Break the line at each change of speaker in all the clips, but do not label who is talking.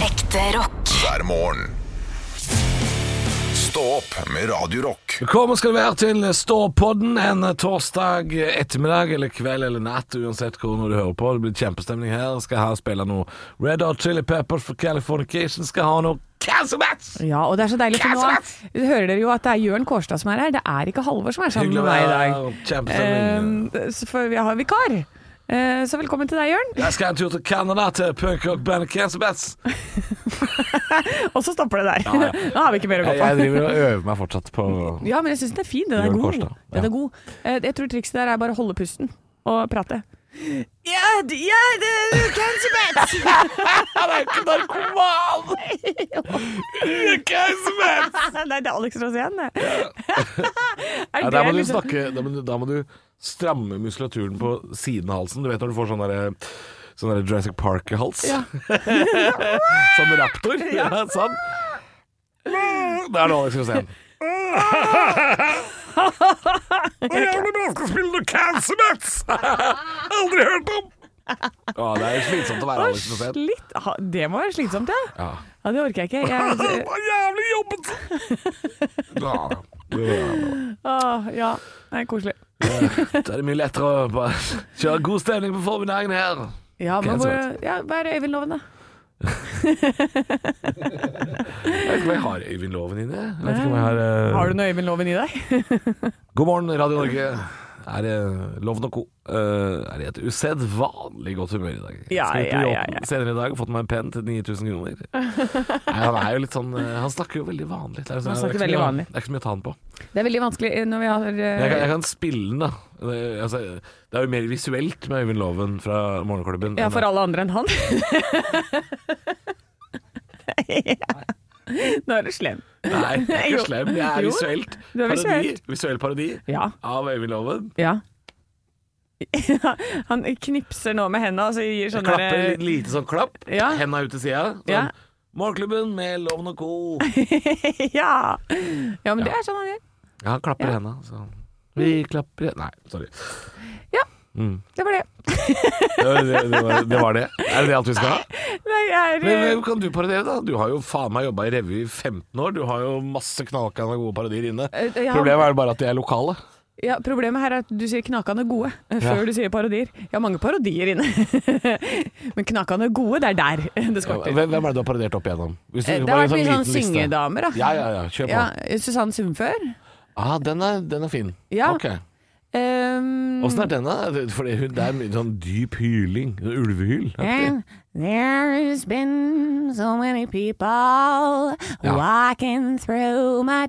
Ekte rock.
hver morgen. Stå opp med Radio Rock.
Velkommen skal du være til Ståpodden en torsdag ettermiddag eller kveld eller natt, uansett hvor når du hører på. Det blir kjempestemning her. Skal her spille noe Red Hot Chili Peppers for Californication. Skal ha noe Casabats!
Ja, og det er så deilig, for nå hører dere jo at det er Jørn Kårstad som er her. Det er ikke Halvor som er sammen
Hyggelig å
med meg i
være
dag.
her. Kjempestemning.
Eh, så for vi har vikar. Eh, så velkommen til deg, Jørn.
Jeg skal en tur til Canada, til punkrockbandet Casabats.
Og så stopper det der. Nå har vi ikke mer å gå
Jeg,
på.
jeg driver og øver meg fortsatt på
Ja, men jeg syns den er fin. Den er
Jørn
god.
Kårstad,
Den
ja.
er god. Eh, jeg tror trikset der er bare å holde pusten og prate. Ja, d- ja, det du kan så bad.
Han er jo ikke narkoman! Casabats!
Nei, det er Alex Rosén, det. Er
Ja, der, må
det
du
liksom-
snakke, da, må du, da må du stramme muskulaturen på siden av halsen. Du vet når du får sånn derre sånn der Jurassic Park-hals?
Ja.
sånn raptor? Ja, sånn. Da er det Alex Rosén. Og jævlig bra skal spille noe Cancermats! Aldri hørt om! Å, det er slitsomt å være
Å,
Alex Rosén.
slitt- ha, det må være slitsomt, ja.
Ja.
ja. Det orker jeg ikke. Jeg,
Det er jævlig jobbete! Ja, det er det.
Åh, ja. Nei, koselig.
Da er det mye lettere å bare kjøre god stemning på formiddagen her.
Ja, men
Greit,
hvor,
sant.
ja, hva er det Øyvind Loven, da?
Eh. Jeg vet ikke om jeg har Øyvind Loven inne. Jeg vet ikke om jeg har, eh,
Har du noe Øyvind Loven i deg?
God morgen, Radio Norge. Er det Loven og co. Eh, er i et usedvanlig godt humør i dag.
Ja,
Skal ut på
ja, ja,
yachten
ja.
senere i dag og fått meg en penn til 9000 kroner. Nei, han er jo litt sånn eh, Han snakker jo veldig vanlig. Det er, sånn-
Han snakker
det er ikke så
veldig
mye-
vanlig.
Det er ikke så mye å ta han på.
Det er veldig vanskelig eh, når vi har eh,
Jeg kan, jeg kan spille den, da. Det, altså, det er jo mer visuelt med Øyvind Loven fra Morgenklubben.
Ja,
enn
for alle andre enn han. ja. Nå er du slem.
Nei, jeg er
Jo.
ikke slem. Jeg er
Jo.
visuelt.
Du er
parodi.
visuelt.
Visuell parodi
Ja.
av Øyvind Loven.
ja. han knipser nå med henda og så gir sånn
Klapper
derre-
litt lite sånn klapp.
Ja.
Henda ut til sida. Sånn.
Ja.
Morgenklubben med Loven og co.
ja. ja, men det er sånn han gjør.
Ja, han klapper
Ja.
henda. sånn. Vi klapper Nei, sorry.
Det var det.
Det var det, det, var, det var det. Er det det alt vi skal ha?
Nei, jeg er
Men
eh,
hvem kan du parodiere, da? Du har jo faen meg jobba i revy i 15 år. Du har jo masse knakende gode parodier inne.
Eh, jeg har-
Problemet er bare at de er lokale.
Ja, Problemet her er at du sier 'knakende gode' eh, før du sier parodier. Jeg har mange parodier inne. Men 'knakende gode', det er der det
Hvem,
skorter.
hvem er det du har parodiert opp igjennom? Hvis du
Eh, Det
bare
har
en
vært mye sånn
liten liste.
syngedamer, da.
Ja, ja, ja. Kjør på.
Ja, Susanne Sundfør.
Ah, den er, den er fin.
Ja.
Ok.
Um,
Åssen er den, da? Fordi hun, det er mye sånn dyp hyling. Sånn Ulvehyl.
And There's been so many people
Ja.
walking through my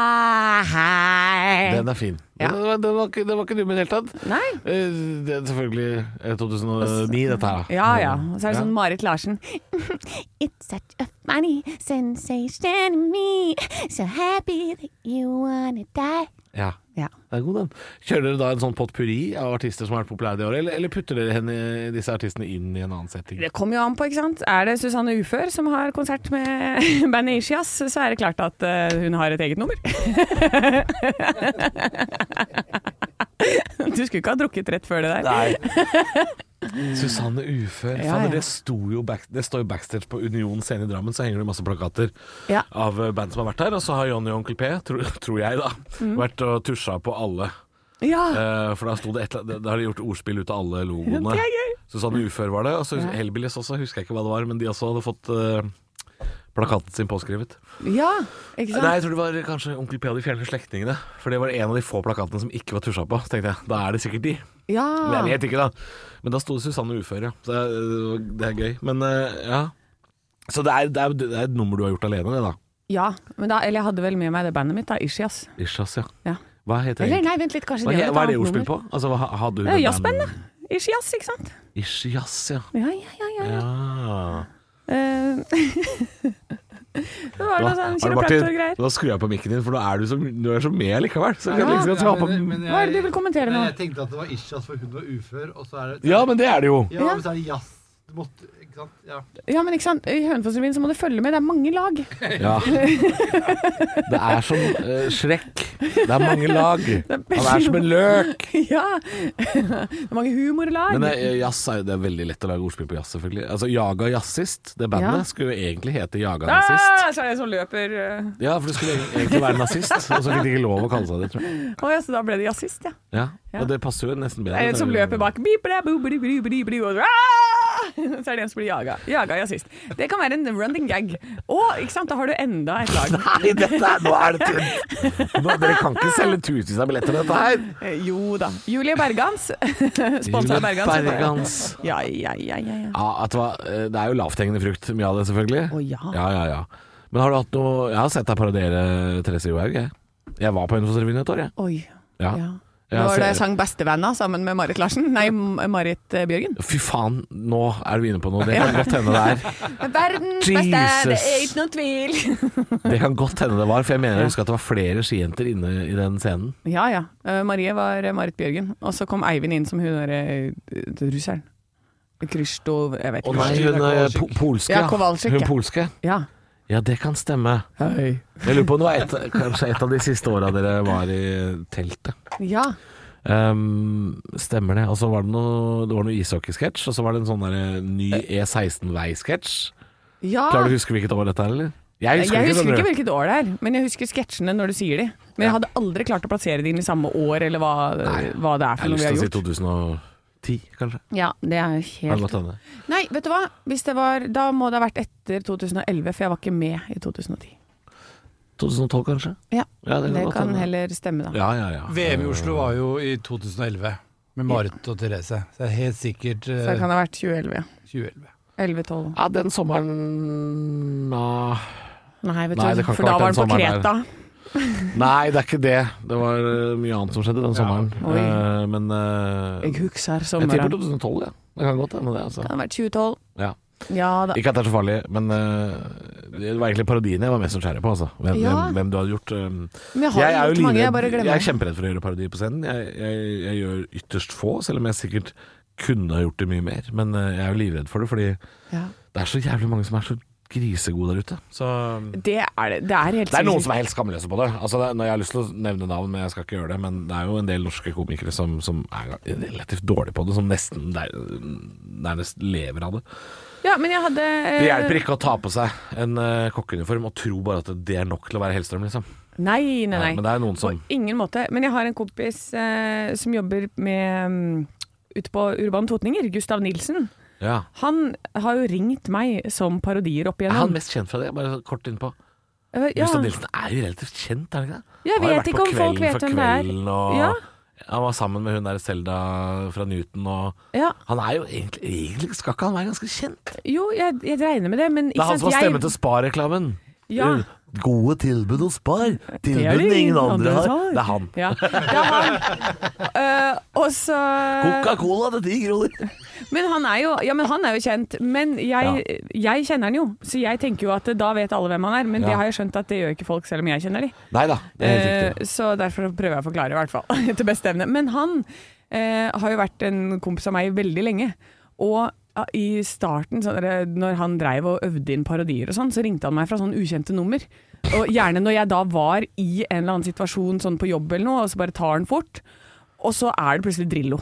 door.
Den er fin.
Ja.
Den, var, den, var, ikke- den var ikke dum i det hele tatt.
Nei.
Eh, Det er selvfølgelig eh, 2009, dette her.
Ja ja. Og så er det sånn Marit Larsen.
It's such a funny sensation in me. So happy that you wanna die.
Ja.
Ja.
Det er god, den. Kjører dere da en sånn potpurri av artister som har vært populære i år, eller, eller putter dere henne, disse artistene inn i en annen setting?
Det kommer jo an på, ikke sant. Er det Susanne Ufør som har konsert med bandet Ischias, så er det klart at eh, hun har et eget nummer. du skulle ikke ha drukket rett før det der.
Nei. Susanne Ufør.
Ja,
Fader,
ja.
Det, sto jo back, det står jo backstage på Union scene i Drammen, så henger det masse plakater
Ja.
av eh, band som har vært der. Og så har Johnny og Onkel P, tror, tror jeg, da,
Mm.
vært og tusja på alle.
Ja.
Eh, for da, sto det et, eller annet- da har de gjort ordspill ut av alle logoene.
Det er gøy.
Susanne Ufør var det. Og så Hellbillies også, husker jeg ikke hva det var, men de også hadde fått eh, plakaten sin påskrevet.
ja, ikke sant.
Nei, jeg tror det var kanskje Onkel P og de fjerne slektningene. For det var en av de få plakatene som ikke var tusja på. Så tenkte jeg, da er det sikkert de.
Ja.
Men jeg vet ikke, da. Men da sto det Susanne ufør, ja. Så eh, det er gøy. Men eh, ja. Så det er, det, er, det er et nummer du har gjort alene, det da.
Ja, men da, eller jeg hadde vel med meg det bandet mitt, da, Ischias.
Isjas, ja.
Ja.
Hva heter
Eller
det?
nei, vent litt, kanskje
Hva,
det
he-
var
hva er
et
det
annet
ordspill
nummer.
på? Altså, hva ha- hadde hun
Det er jo
et
jazzband,
band?
da. Ischias, ikke sant?
Isjas, ja.
Ja, ja, ja. ja.
ja.
Eh, det var
Nå,
noe sånn
Arne Martin,
kiropraktor-greier.
nå skrur jeg på mikken din, for nå er du så, du er så med likevel. Så jeg kan
Ja.
liksom godt ha på
Hva er det du vil kommentere nå?
Jeg tenkte at det var Ishas for hun var ufør, og så er det
Ja, men det er det jo.
Ja, men så er det jazz. Du måtte
Ikke sant? Ja.
Ja, men ikke sant? I Hønefoss-revyen så må du følge med, det er mange lag.
Ja. Det er som eh, Shrek. Det er mange lag. Han er som en løk.
ja! Det er mange humorlag.
Men eh, jazz er, jo- det er veldig lett å lage ordspill på jazz, selvfølgelig. Altså Jaga Jazzist, det bandet,
Ja.
skulle jo egentlig hete Jaga Nazist.
ah, så er det en som løper eh.
Ja, for det skulle egen- egentlig være nazist, og så fikk de ikke lov å kalle seg det, tror jeg.
Å ja, så da ble det jazzist, ja.
Ja,
Ja.
Og det passer jo nesten bedre.
Det er en som
Det er jo-
løper bak bip, bla, bu, bli, bli, bli, bli, og, ah! Så er det en som blir jaga. Jaga jazzist. Det kan være en running gag. Å, ikke sant, da har du enda et lag.
Nei, dette er, nå er det tynt! Nå- Dere kan ikke selge tusenvis av billetter til dette her.
Eh, Jo da. Julie Bergans. Sponsa av Bergans.
Bergans.
Ja, ja, ja, ja, ja.
Ja, at det, var, eh, det er jo lavthengende frukt, mye av det selvfølgelig.
Å, ja.
ja, ja, ja. Men har du hatt noe Jeg har sett deg parodiere Therese Johaug, jeg. Jeg var på Hønefossrevyen et år, jeg.
Oi.
Ja.
Ja.
Jeg
Det var da
ser-
jeg sang Bestevenna sammen med Marit Larsen. Nei, M- Marit eh, Bjørgen.
Fy faen, nå er du inne på noe. Det kan godt hende det er.
Verdens
beste, det
beste, det
Jesus.
er
er ikke
ikke noen tvil.
Det kan godt hende det var, for jeg mener jeg husker at det var flere skijenter inne i den scenen.
Ja ja. Eh, Marie var eh, Marit Bjørgen. Og så kom Eivind inn som hun derre eh, russeren. Kristov Jeg vet
Å
ikke.
nei, hun eh, po polske.
Ja, Kowalczyk,
Hun
ja.
polske.
Ja.
Ja, det kan stemme.
Hei.
Jeg lurer på om det var et, kanskje et av de siste åra dere var i teltet.
Ja.
Ehm, stemmer det. Og så var det noe, det var noe ishockeysketsj, og så var det en sånn der ny E16-veisketsj.
ja.
Klarer du å huske hvilket år dette er, eller? Jeg husker,
Ah. jeg
ikke,
husker
skjønner
ikke
du.
hvilket år det er, men jeg husker sketsjene når du sier de. Men jeg hadde aldri klart å plassere de inn i samme år, eller hva,
Nei.
hva det
Jeg
er
har
for noe
lyst
vi har
til å si
gjort.
2010, kanskje.
Ja, det er
Kan
jo
det
helt
godt hende.
Nei, vet du hva? Hvis det var, da må det ha vært etter 2011, for jeg var ikke med i 2010.
2012, kanskje.
Ja,
Ja, det
Det
kan
kan,
godt hende.
heller stemme, da.
Ja, ja, ja.
VM i Oslo var jo i 2011, med Marit og Therese. Så det er helt sikkert
Så det
eh,
kan det ha vært 2011. ja.
2011.
11-12.
Ja, den sommeren ah. ja.
Nei, vet du,
Nei, det kan ikke
for da
ha vært
var
den
den på
sommeren
Kreta.
Nei, det er ikke det. Det var eh, mye annet som skjedde den
Ja.
sommeren.
Oi.
Eh, men eh,
Jeg husker
jeg tipper
sommeren.
2012, ja. Det kan godt hende det. Altså.
Det kan ha vært 2012.
Ja.
Ja da.
Ikke at det er så farlig, men eh, det var egentlig parodiene jeg var mest nysgjerrig på. Altså. Hvem,
Ja.
hvem, hvem du hadde gjort. eh,
Men jeg har
er
jo
jo
gjort mange, jeg
livredd-
bare
jeg er
glemmer.
kjemperedd for å gjøre parodier på scenen. Jeg, jeg, jeg gjør ytterst få, selv om jeg sikkert kunne ha gjort det mye mer. Men eh, jeg er jo livredd for det, fordi
Ja.
det er så jævlig mange som er så grisegode der ute. Så
Det er det. Det er helt
det er noen
sinnssykt.
som er helt skamløse på det. Altså, det er, når jeg har lyst til å nevne navn, men jeg skal ikke gjøre det. Men det er jo en del norske komikere som, som er relativt dårlige på det, som nesten der, nærmest lever av det.
Ja, men jeg hadde
Det hjelper ikke å ta på seg en eh, kokkeuniform og tro bare at det er nok til å være Hellstrøm, liksom.
Nei, nei, nei.
Ja, men det er noen som
På ingen måte. Men jeg har en kompis eh, som jobber med mm, Ute på Urban Totninger, Gustav Nilsen.
Ja.
Han har jo ringt meg som parodier opp
Er han
igjennom.
mest kjent fra det? Bare kort innpå.
Eh, ja.
Gustav Nilsen er jo relativt kjent, er han ikke det? Han har
Jeg
jo
vet
vært
ikke
på
om folk
Kvelden
vet
for
hvem det er.
Kvelden, og
Ja.
Han var sammen med hun der Selda fra Newton og
Ja.
Han er jo egentlig, egentlig skal ikke han være ganske kjent?
Jo, jeg, jeg regner med det, men
Det
ikke
er han som har stemmen
sant,
til Spar-reklamen.
jeg Ja.
Gode tilbud hos Spar.
er det
Tilbudene ingen andre har.
har.
Det er han.
Ja, det er han. Eh, og så
Coca-Cola til ti kroner.
Men han er jo Ja, men han er jo kjent. Men jeg, jeg kjenner han jo, så jeg tenker jo at da vet alle hvem han er. Men
Ja.
det har jeg skjønt at det gjør ikke folk, selv om jeg kjenner de.
Nei da, det er helt riktig.
Eh, så derfor prøver jeg å forklare, i hvert fall. Etter beste evne. Men han eh, har jo vært en kompis av meg veldig lenge. Og ja, i starten, sånn, eller når han dreiv og øvde inn parodier og sånn, så ringte han meg fra sånn ukjente nummer. Og gjerne når jeg da var i en eller annen situasjon sånn på jobb eller noe, og så bare tar han fort. Og så er det plutselig Drillo.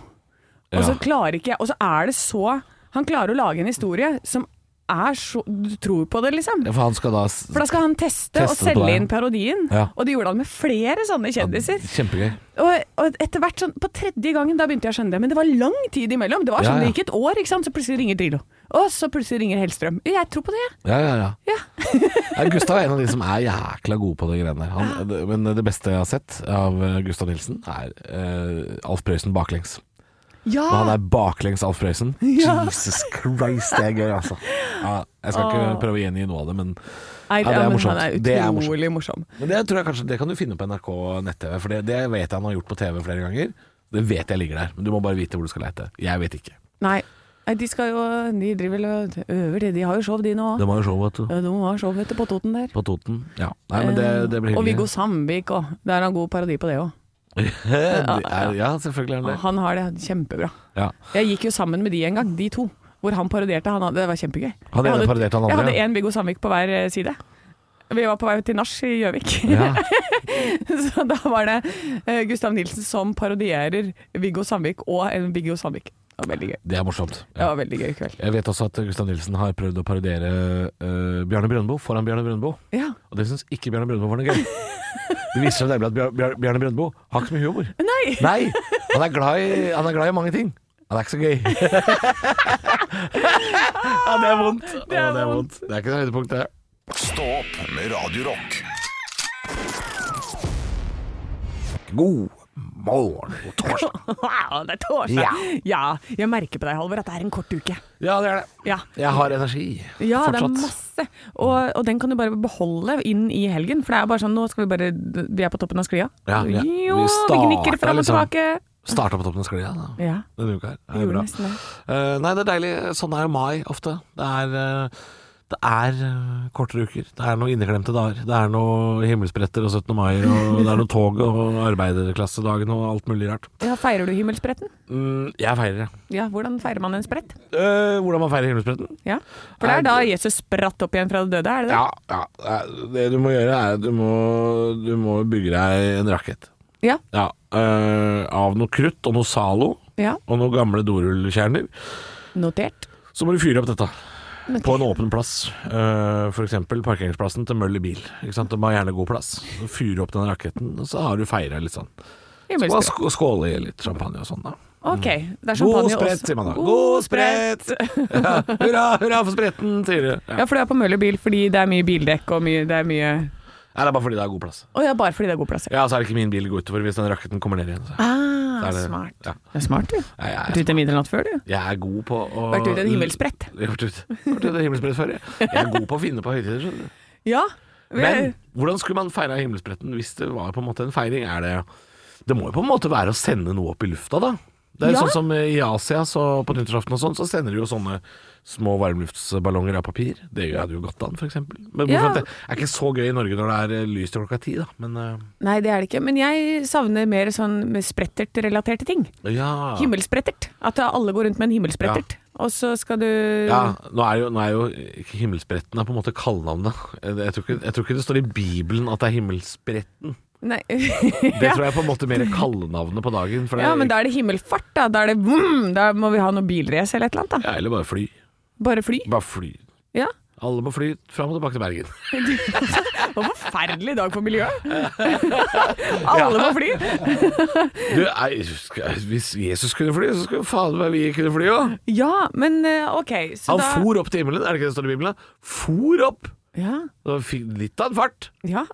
Og så
Ja.
klarer ikke jeg Og så er det så Han klarer å lage en historie som er så Du tror på det, liksom.
For han skal da s-
For da skal han teste, og
Teste det på
selge
deg.
inn parodien.
Ja.
Og det gjorde han med flere sånne kjendiser.
Kjempegøy.
Og, og etter hvert sånn, På tredje gangen da begynte jeg å skjønne det, men det var lang tid imellom. Det var
Ja,
sånn,
ja.
det gikk et år, ikke sant? så plutselig ringer Drillo. Og så plutselig ringer Hellstrøm. Jeg tror på det, jeg.
Ja, ja, ja.
Ja.
Nei, Gustav er en av de som er jækla gode på de greiene der. Han, det- Men det beste jeg har sett av eh, Gustav Nilsen, er eh, Alf Prøysen baklengs.
Ja!
Når han er baklengs Alf Prøysen. Jesus Christ, det er gøy, altså. Ja, jeg skal ikke
Ah.
prøve å gjengi noe av det, men,
Nei,
Ja, det er
men
morsomt.
Han er
Det er
utrolig morsom.
men det tror jeg kanskje det kan du finne på NRK nett-TV. For det, det vet jeg han har gjort på TV flere ganger. Det vet jeg ligger der, men du må bare vite hvor du skal leite. Jeg vet ikke.
Nei, Nei, de skal jo De driver vel og øver, de. De har jo show, de nå òg.
Det var jo show, vet du.
De har show vet du, på Toten der.
På Toten. Ja. Nei, men det, det blir
Eh, og Viggo
hyggelig.
Sandvik òg. Det er en god parodi på det òg.
Det er- Ja, selvfølgelig er han det.
Han har det kjempebra.
Ja.
Jeg gikk jo sammen med de en gang, de to. hvor han parodierte. Han hadde, det var kjempegøy.
Hadde
jeg
ene
hadde,
parodiert han andre,
Jeg hadde
ja.
én Viggo Sandvik på hver eh, side. Vi var på vei til nach i Gjøvik.
Ja.
Så da var det eh, Gustav Nilsen som parodierer Viggo Sandvik og en Viggo Sandvik. Det var veldig gøy.
Det er morsomt.
Det
Ja.
var veldig gøy kveld.
Jeg vet også at Gustav Nilsen har prøvd å parodiere eh, Bjarne Brøndbo foran Bjarne Brøndbo.
Ja.
Og det syns ikke Bjarne Brøndbo var noe gøy. Det viser seg nemlig at Bjar- Bjar- Bjarne Brøndbo har ikke så mye humor.
Nei!
Nei, han er glad i, han er glad i mange ting. Han er ikke så gøy. ja, det er vondt. Å,
er
det er
vondt.
vondt. Det er ikke så høydepunkt, det.
Stå opp med Radio Rock.
God morgen god torsdag.
Wow, det er torsdag! Ja.
Ja.
Jeg merker på deg, Halvor, at det er en kort uke.
Ja, det er det.
Ja,
Jeg har energi.
ja det er
Fortsatt.
masse. Og, og den kan du bare beholde inn i helgen. For det er bare sånn, nå skal vi bare Vi er på toppen av sklia.
Ja, vi- vi
Jo, vi
starter
gnikker fram og
liksom.
tilbake.
Starta på toppen av sklia da.
Ja.
denne uka her. Det
Vi
er
gjorde
bra.
nesten det.
Eh, nei, det er deilig. Sånn er jo mai ofte. Det er, eh, det er eh, kortere uker. Det er noen inneklemte dager. Det er noen himmelspretter og 17. mai, og det er noen tog og arbeiderklassedagen og alt mulig rart.
Ja, feirer du himmelspretten?
Mm, jeg feirer, jeg.
Ja, hvordan feirer man en sprett?
Eh, hvordan man feirer himmelspretten?
Ja. For det er da Jesus spratt opp igjen fra det døde, er det det?
Ja, ja. Eh, Det du må gjøre, er at du må, du må bygge deg en rakett.
Ja.
Ja. eh, av noe krutt og noe Zalo
ja.
og noen gamle dorullkjerner.
Notert.
Så må du fyre opp dette. På en åpen plass, uh, f.eks. parkeringsplassen til Møller bil. Ikke sant? De har gjerne god plass. Så Fyrer opp den raketten, og så har du feira litt sånn. Og
Himmelsprett.
sk- skåle i litt champagne og sånn, da.
Ok, det er
God
champagne
sprett,
også.
sier man da. God sprett! Ja, hurra, hurra for spretten, sier du. Ja.
Ja, for det er på Møller bil fordi det er mye bildekk og mye, det er mye
Nei, det er bare fordi det er god plass.
Å ja, bare fordi det er god plass.
Ja, så er det ikke min bil å gå utover hvis den raketten kommer ned igjen. Så.
Ah,
er det-
smart.
ja.
Du er smart, du.
Nei, jeg,
Vært
er,
ute middelnatt før, du.
jeg er god på å
Vært ute i en
Jeg
himmelsprett.
har Vært ute vært ute i en himmelsprett før, jeg. Jeg er god på å finne på høytider, skjønner du.
Ja.
Men hvordan skulle man feira himmelspretten hvis det var på en måte en feiring? Er det, det må jo på en måte være å sende noe opp i lufta, da. Det er jo
Ja.
sånn som i Asia så på nyttårsaften og sånn, så sender de jo sånne små varmluftsballonger av papir. Det gjør jeg det jo godt an, f.eks. Men bortsett
Ja.
fra at det er ikke så gøy i Norge når det er eh, lyst til klokka ti, da. Men eh,
Nei, det er det ikke. Men jeg savner mer sånn med sprettert-relaterte ting.
ja.
Himmelsprettert. At alle går rundt med en himmelsprettert. Og så skal du
Ja, nå er jo, nå er jo ikke himmelspretten er på en måte kallenavnet. Jeg tror, ikke, jeg tror ikke det står i Bibelen at det er himmelspretten.
Nei.
Det tror jeg er på en måte mer kallenavnet på dagen. For det
Ja,
er
men da er det himmelfart, da. Da, er det, vroom, da må vi ha noe bilrace eller et eller annet,
ja, Eller bare fly.
da. Bare fly.
Bare fly.
Ja.
Alle må fly fram og tilbake til Bergen.
Det var en forferdelig dag for miljøet. Alle må fly.
Du, nei, skal- hvis Jesus kunne fly, så skulle faen meg vi kunne fly òg.
Ja, men eh, OK, så
Han
da
for opp til himmelen, er det ikke det som står i Bibelen? For opp!
Ja.
Det fikk litt av en fart.
ja.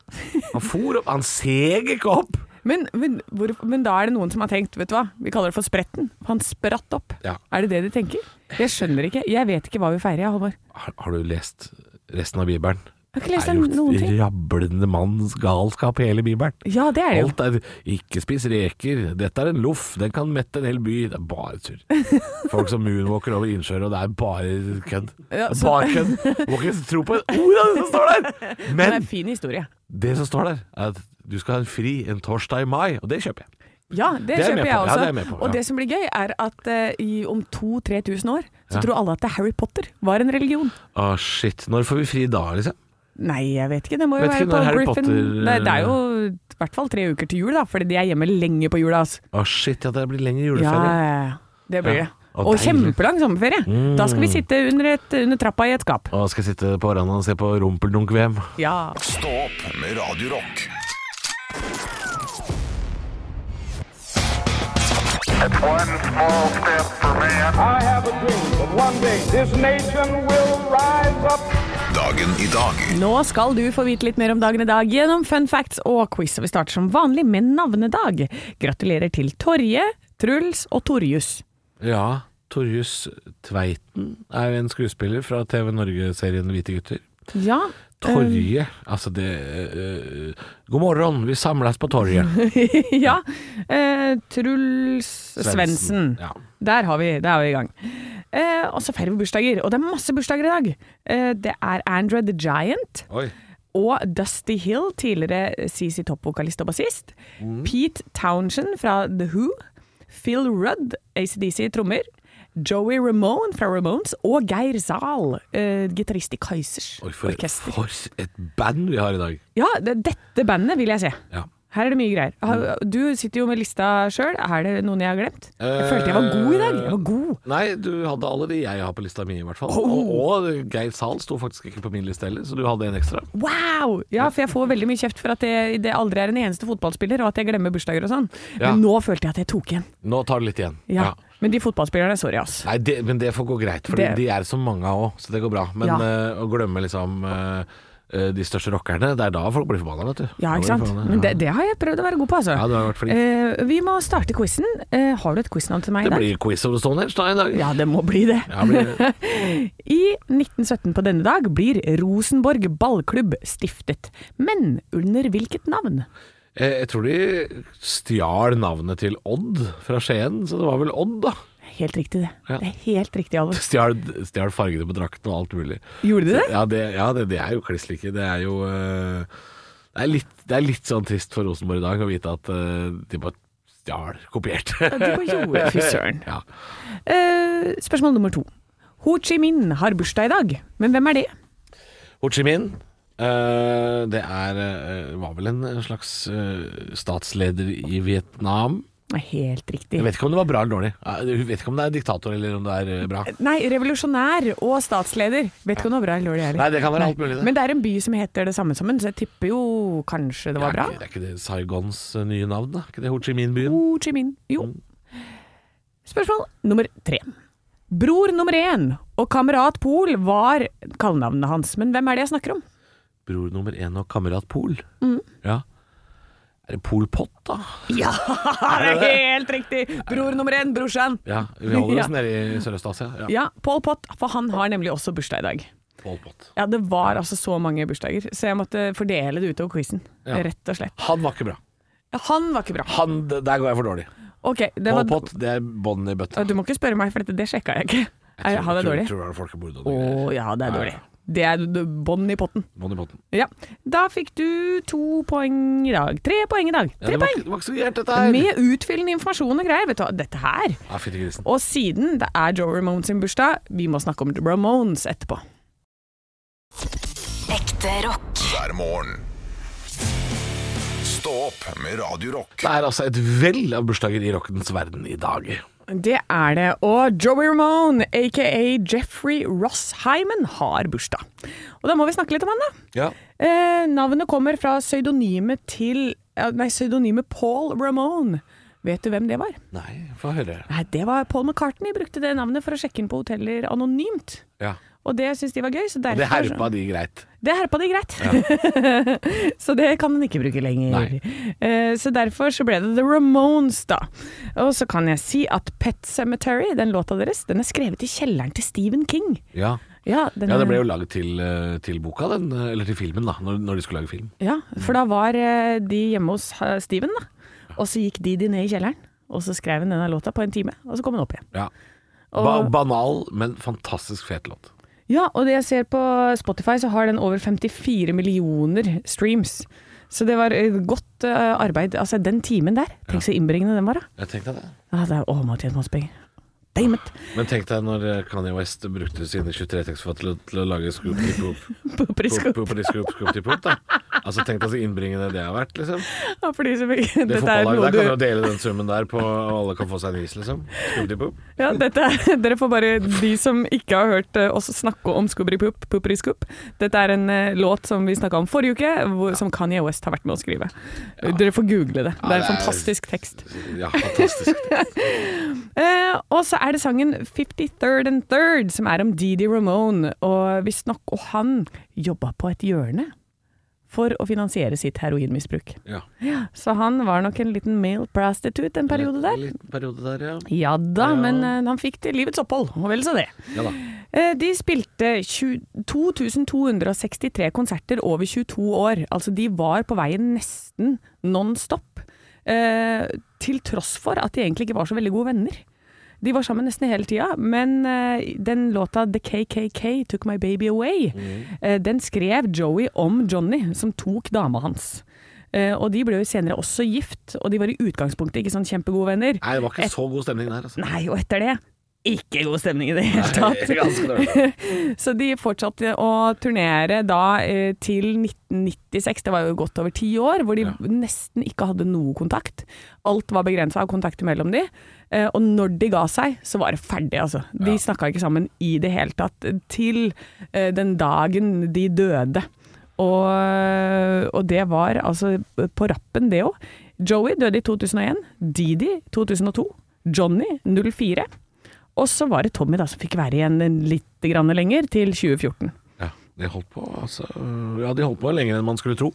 Han for opp. Han seg ikke opp.
Men, men, hvor, men da er det noen som har tenkt, vet du hva, vi kaller det for spretten. Han spratt opp.
Ja.
Er det det de tenker? Jeg skjønner ikke. Jeg vet ikke hva vi feirer, jeg, Håvard.
Har, har du lest resten av Bibelen?
Jeg har ikke lest
Det er jo
den noen ting.
rablende manns galskap i hele Bibelen.
Ja, det er det jo.
Alt er 'ikke spis reker', 'dette er en loff', 'den kan mette en hel by'. Det er bare tull. Folk som moonwalker over innsjøer, og det er bare kødd.
Ja,
Det er
så-
bare kødd. Du Må ikke tro på et ord av det som står der!
Det er
Men
en fin historie.
det som står der, er at du skal ha en fri en torsdag i mai, og det kjøper jeg.
Ja, det,
Det er jeg med
kjøper jeg
på. Ja,
også.
det er jeg med på, ja.
Og det som blir gøy, er at eh, i, om 2000-3000 år så
Ja.
tror alle at det er Harry Potter var en religion.
Å shit, når får vi fri da, liksom?
Nei, jeg vet ikke. Det må jo
Vet
være
ikke
på
når Harry
Griffin
Potter- eh,
Nei, Det er jo i hvert fall tre uker til jul, da, fordi de er hjemme lenge på jula. Altså.
Å shit, ja, det blir lengre
Ja,
juleferie.
det blir
Ja.
det.
Og
Og
deilig. Mm.
kjempelang sommerferie. Da skal vi sitte under, et, under trappa i et skap.
Og skal jeg sitte på verandaen og se på Rumpeldunk-VM.
Ja.
Stå opp med Radio Rock.
One small step for man. I have a dream that one day this nation will rise up.
Dagen i dag.
Nå skal du få vite litt mer om dagen i dag gjennom fun facts og quiz. Og vi starter som vanlig med navnedag. Gratulerer til Torje, Truls og Torjus.
Ja, Torjus Tveiten er jo en skuespiller fra TV Norge-serien Hvite gutter.
Ja.
Torget, altså det eh, God morgen, vi samles på torget.
ja. Eh, Truls Svendsen.
Ja.
Der, har vi, der er vi i gang. Eh, og så feirer vi bursdager, og det er masse bursdager i dag. Eh, det er Andrew the Giant
Oi.
og Dusty Hill, tidligere CC Topp-vokalist og bassist.
Mm.
Pete Townshend fra The Who. Phil Rudd, ACDC trommer. Joey Ramone fra Ramones og Geir Zahl, eh, gitarist i Kaizers
Oi, for,
orkester.
for et band vi har i dag.
Ja, det, dette bandet vil jeg se.
Ja. Mm.
Her er det mye greier. Har- Du sitter jo med lista sjøl. Er det noen jeg har glemt? Jeg følte jeg var god i dag. Jeg var god.
Nei, du hadde alle de jeg har på lista mi, i hvert fall.
Oh.
Og, og Geir Zahl sto faktisk ikke på min liste heller, så du hadde en ekstra.
Wow! Ja, for jeg får veldig mye kjeft for at jeg, det aldri er en eneste fotballspiller, og at jeg glemmer bursdager og sånn.
Ja.
Men nå følte jeg at jeg tok en.
Nå tar du litt igjen.
Ja.
Ja.
Men de fotballspillerne, sorry, ass.
Nei, det, men det får gå greit, for
Det-
de er så mange av òg, så det går bra. Men
Ja.
eh, å glemme liksom eh, eh, de største rockerne, det er da folk blir forbanna, vet du. Da
Ja,
blir
ikke
de
sant?
forbanna,
Men
ja.
det, det har jeg prøvd å være god på, altså.
Ja, du har vært flink.
Eh, vi må starte quizen. Eh, har du et quiznavn til meg i
det
dag?
blir quiz over Stonehenge da en dag.
Ja, det må bli det.
Ja, eh, blir det.
I 1917 på denne dag blir Rosenborg ballklubb stiftet. Men under hvilket navn?
Eh, Jeg tror de stjal navnet til Odd fra Skien, så det var vel Odd, da.
Helt riktig, det.
Ja.
Det er helt riktig, Alvor.
Stjal, stjal fargene på drakten og alt mulig.
Gjorde de det?
Ja, det, ja, det, det er jo kliss like. Det er jo eh, det er, litt, det er litt sånn trist for Rosenborg i dag å vite at eh, de bare stjal, kopierte.
Ja, de bare gjorde- Fy søren.
Ja.
Eh, spørsmål nummer to. Ho Chi Minh har bursdag i dag, men hvem er det?
Ho Chi Minh eh, det er, eh, var vel en slags eh, statsleder i Vietnam.
Nei, Helt riktig.
Jeg vet ikke om det var bra eller dårlig. Eh, Jeg vet ikke om det er diktator eller om det er eh, bra.
Nei, revolusjonær og statsleder. Vet ikke om det var bra eller dårlig heller.
Nei, det kan være alt mulig, det.
Men det er en by som heter det samme som en, så jeg tipper jo kanskje det var
Ja,
bra.
er ikke- Det er ikke det Saigons eh, nye navn, da? Er Ikke det Ho Chi Minh-byen?
Ho Chi Minh. Jo.
Mm.
Spørsmål nummer tre. Bror nummer én og kamerat Pol var kallenavnet hans, men hvem er det jeg snakker om?
Bror nummer én og kamerat Pol. Ja. Er det Pol Pot, da?
Ja, det er helt riktig! Bror nummer én, brorsan.
Ja, vi holder oss
Ja.
nede i Sørøst-Asia. Ja.
Ja, Pol Pot, for han har nemlig også bursdag i dag.
Pol Pot.
Ja, det var altså så mange bursdager, så jeg måtte fordele det utover quizen.
Ja.
Rett og slett.
Han var ikke bra.
Han var ikke bra.
Han, d- der går jeg for dårlig.
Ok, det
Pol
var
Pot, det er bånd i bøtta.
Du må ikke spørre meg, for dette, det sjekka jeg ikke. Er, har det
Tror-
dårlig?
Tror det er folkemord og
Å
noe greier.
ja, det er
Ja,
dårlig.
ja.
Det er d- bånd i potten.
Bånd i potten.
Ja. Da fikk du to poeng i dag. Tre poeng i dag.
Ja,
Tre
det, var, ikke-
poeng!
det var ikke så gærent, dette her.
Med utfyllende informasjon og greier. Vet du hva, dette her.
Ja, fytti grisen.
Og siden det er Joe Ramones sin bursdag, vi må snakke om Ramones etterpå.
Ekte rock.
hver morgen. Stå opp med Radio Rock.
Det er altså et vell av bursdager i rockens verden i dag.
Det er det. Og Joey Ramone, aka Jeffrey Ross Hyman, har bursdag. Og da må vi snakke litt om han, da.
Ja.
Eh, navnet kommer fra pseudonymet til ja, Nei, pseudonymet Paul Ramone. Vet du hvem det var?
Nei, få høre.
Nei, det var Paul McCartney brukte det navnet for å sjekke inn på hoteller anonymt.
Ja.
Og det syntes de var gøy, så derfor
Det herpa de greit.
Det herpa de greit. så det kan den ikke bruke lenger.
Nei.
Eh, så derfor så ble det The Ramones, da. Og så kan jeg si at Pet Cemetery, den låta deres, den er skrevet i kjelleren til Stephen King.
Ja.
Ja, den
Ja, det
er-
ble jo laget til, eh, til boka, den, eh, eller til filmen, da, når, når de skulle lage film.
Ja, for da var eh, de hjemme hos eh, Steven, da. Og så gikk de de ned i kjelleren, og så skrev han denne låta på en time, og så kom han opp igjen.
Ja. Ba
Og,
banal, men fantastisk fet låt.
ja, og det jeg ser på Spotify, så har den over 54 millioner streams. Så det var eh, godt eh, arbeid. Altså, den timen der, tenk så innbringende den var, da.
Jeg tenkte det.
Ja, det er, å, må ha tjent masse penger. Damn it!
Men tenk deg når eh, Kanye West brukte sine 23 tekstfat til, å- til å lage Scoop Di Poop
På Prisco.
Poop Di Scoop Scoop Di Poop, da. Altså, tenk deg så innbringende det har vært, liksom.
Ja, for de som ikke
Det
Dette er
fotballaget
noe
der kan jo
du
dele den summen der på og alle kan få seg en is, liksom. Scoop Di Poop.
ja, dette er, Dere får bare de som ikke har hørt eh, oss snakke om Skubripup, Pupriskoop. Dette er en eh, låt som vi snakka om forrige uke, hvor, som Kanye West har vært med å skrive. Dere får google det. det er en
det er-
fantastisk tekst.
Ja, fantastisk.
Eh, og så er det sangen 53rd and 3rd, som er om Didi Ramone. Og visstnok og han jobba på et hjørne for å finansiere sitt heroinmisbruk.
Ja.
Så han var nok en liten male prostitute en periode der.
Liten periode der, ja.
Ja da, men eh, han fikk til livets opphold, og vel så det.
Ja da.
Eh, De spilte 20 2263 konserter over 22 år. Altså de var på veien nesten non stop. eh, Til tross for at de egentlig ikke var så veldig gode venner. De var sammen nesten hele tida, men eh, den låta 'The KKK Took My Baby Away', eh, den skrev Joey om Johnny, som tok dama hans. Eh, og de ble jo senere også gift, og de var i utgangspunktet ikke sånn kjempegode venner.
Nei, det var ikke så god stemning der, altså.
Nei, og etter det ikke god stemning i det hele tatt.
Ganske dårlig.
Så de fortsatte å turnere da eh, til 1996, det var jo godt over ti år, hvor de nesten ikke hadde noe kontakt. Alt var begrensa av kontakter mellom de. Eh, og når de ga seg, så var det ferdig, altså. De snakka ikke sammen i det hele tatt. Til eh, den dagen de døde. Og, og det var altså på rappen, det òg. Joey døde i 2001, Didi 2002, Johnny 04. Og så var det Tommy da som fikk være igjen en litt grann lenger, til 2014.
Ja, de holdt på, altså. Ja, de holdt på lenger enn man skulle tro.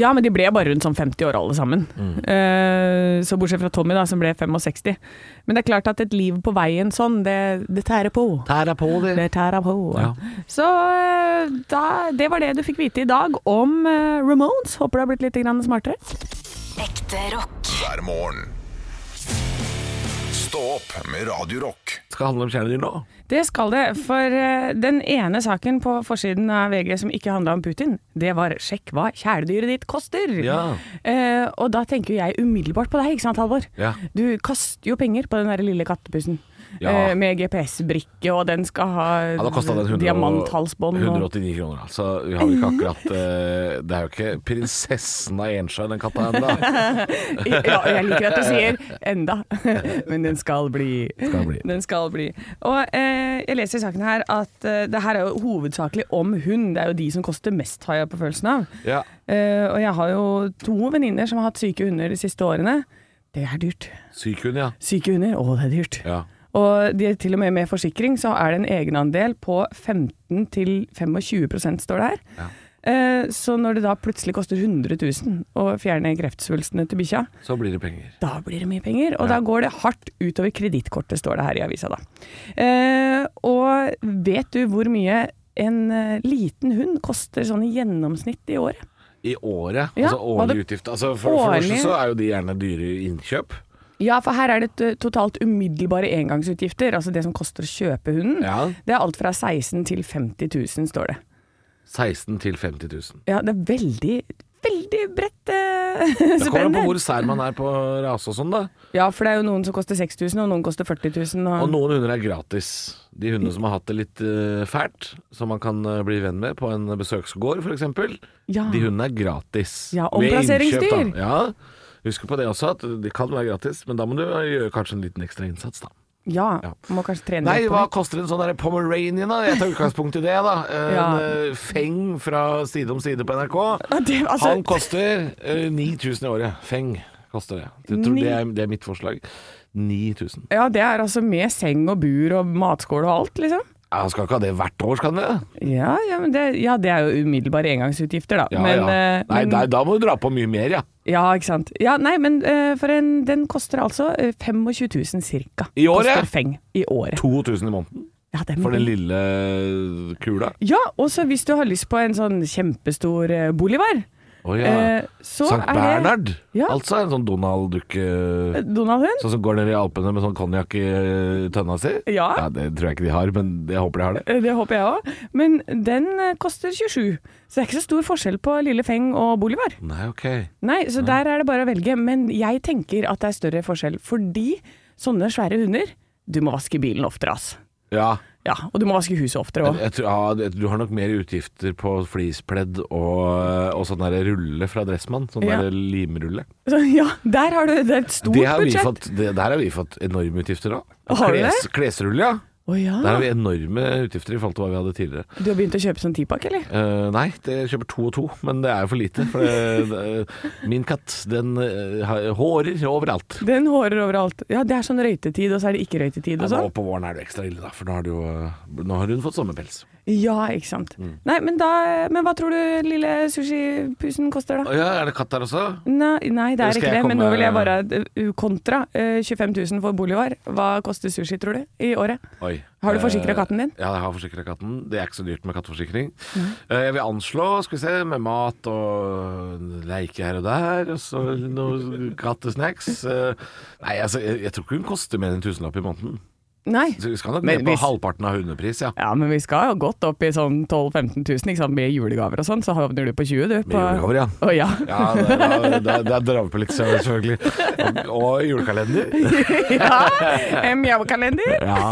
Ja, men de ble bare rundt sånn 50 år alle sammen. Eh, så bortsett fra Tommy, da, som ble 65. Men det er klart at et liv på veien sånn, det, det tærer på.
Tæra på
Det tærer på.
Ja.
Så eh, da, det var det du fikk vite i dag om eh, Ramones. Håper du har blitt litt grann smartere.
Ekte rock.
hver morgen. Stå opp med Radio Rock.
Skal handle om kjæledyr nå.
Det skal det, for eh, den ene saken på forsiden av VG som ikke handla om Putin, det var 'sjekk hva kjæledyret ditt koster'.
Ja.
Eh, og da tenker jo jeg umiddelbart på deg, ikke sant Halvor?
Ja.
Du kaster jo penger på den der lille kattepussen.
Ja.
eh, med GPS-brikke, og den skal ha
Ja, da kostet den 100 og-
diamanthalsbånd. og-
189 kroner, da. Så vi har jo ikke akkurat eh, Det er jo ikke prinsessen av Ensjø, den katta ennå.
Ja, og jeg liker at du sier 'enda', men den skal bli.
Skal bli.
Den skal bli. Og eh, jeg leser i saken her at eh, det her er jo hovedsakelig om hund. Det er jo de som koster mest, har jeg på følelsen av.
Ja.
Eh, og jeg har jo to venninner som har hatt syke hunder de siste årene. Det er dyrt.
Syk hund, ja.
Syke hunder, å det er dyrt.
ja.
Og de er til og med med forsikring så er det en egenandel på 15-25 står det her. Eh, Så når det da plutselig koster 100 000 å fjerne kreftsvulstene til bikkja,
Så blir det penger.
da blir det mye penger, og da går det hardt utover kredittkortet, står det her i avisa da. Eh, og vet du hvor mye en eh, liten hund koster sånn i gjennomsnitt i året?
I året,
Ja,
altså
hva
årlig
det-
utgift. Altså for, for det
Årlig-
første så er jo de gjerne dyre i innkjøp.
Ja, for her er det t- totalt umiddelbare engangsutgifter, altså det som koster å kjøpe hunden.
Ja.
Det er alt fra 16 til 50 000, står det.
16 til 50 000.
Ja, det er veldig, veldig bredt eh,
Det kommer an på
spenn.
hvor sær man er på rase og sånn, da.
Ja, for det er jo noen som koster 6000, og noen koster 40 000. Og,
Og noen hunder er gratis. De hundene som har hatt det litt eh, fælt, som man kan eh, bli venn med på en besøksgård f.eks.,
Ja.
de hundene er gratis.
Ah. Ja,
Ved innkjøp, da.
omplasseringsdyr.
Ja. Husk på det også, at de kan være gratis, men da må du eh, gjøre kanskje en liten ekstra innsats, da.
ja,
ja.
må kanskje trene
Nei,
litt på
hva
det.
koster en sånn der Pomeranian, da? Jeg tar utgangspunkt i det, da. En
Ja.
eh, feng fra Side om side på NRK.
Ja, det- altså-
Han koster eh, 9000 i året. Feng koster det. Jeg tror
Ni-
det, er, det er mitt forslag. 9000.
Ja, det er altså med seng og bur og matskål og alt, liksom.
Ja, skal ikke ha det hvert år, skal han det?
Ja, ja, men det, ja, det er jo umiddelbare engangsutgifter, da.
Ja,
men,
ja.
eh,
Nei,
men,
da- da må du dra på mye mer, ja.
ja, ikke sant. Ja, nei, men eh, for en, den koster altså eh, 25 000 cirka.
I året?
Koster feng i året.
2000 i måneden
Ja, det er
for den
mye.
lille kula.
Ja, og så hvis du har lyst på en sånn kjempestor eh, bolivar,
Å ja.
eh, så
Sankt
er det
Bernhard.
Ja.
Altså en sånn Donald-dukke
Donald-hund?
Sånn som går ned i Alpene med sånn konjakk i eh, tønna si?
Ja.
Det tror jeg ikke de har, men jeg håper de har det.
Eh, Det håper jeg òg. Men den eh, koster 27, så det er ikke så stor forskjell på Lille Feng og Bolivar.
Nei, ok.
Nei, så der er det bare å velge. Men jeg tenker at det er større forskjell, fordi sånne svære hunder Du må vaske bilen oftere, ass.
Ja.
Ja, og du må vaske huset oftere òg.
Jeg tror, ja, det- du har nok mer utgifter på fleecepledd og, og sånn der rulle fra Dressmann. Sånn
Ja.
der limrulle.
Ja, der har du det er et stort
Det har vi
budsjett.
fått, det, der har vi fått enorme utgifter da.
Har vi det? Ah.
klesrulle, ja.
Å ja.
Der har vi enorme utgifter i forhold til hva vi hadde tidligere.
Du har begynt å kjøpe sånn tipakk, eller?
Eh, nei, det kjøper to og to, men det er jo for lite. For det, det, min katt, den eh, har- hårer overalt.
Den hårer overalt. Ja, det er sånn røytetid, og så er det ikke røytetid og
Ja,
sånn.
nå på våren er det ekstra ille, da, for nå har, du, jo- nå har hun fått sommerpels.
Ja, ikke sant.
Mm.
Nei, men, da, men hva tror du lille sushipusen koster, da?
Å ja, er det katt der også?
Nei, nei, det
Eller
er
skal
ikke det,
jeg
men nå
komme-
vil jeg bare uh, kontra. Uh, 25 000 for bolivar. Hva koster sushi, tror du, i året?
Oi.
Har du
Eh,
forsikret katten din?
Ja, jeg har forsikra katten. Det er ikke så dyrt med katteforsikring. Eh, Jeg vil anslå, skal vi se, med mat og leike her og der, og så noe kattesnacks. Eh, Nei, altså, jeg, jeg tror ikke hun koster mer enn en tusenlapp i måneden.
Nei.
Så vi skal nok
Men
ned på
hvis-
halvparten av hundepris, ja.
Ja, men vi skal jo godt opp i sånn 12 000-15 000 ikke sant? med julegaver og sånn, så havner du på 20 du. På...
julegaver, ja.
Å, ja.
Ja, det- da- da- da drar vi på litt søvn, selvfølgelig. Og, og julekalender.
ja. En mjaukalender.
Ja.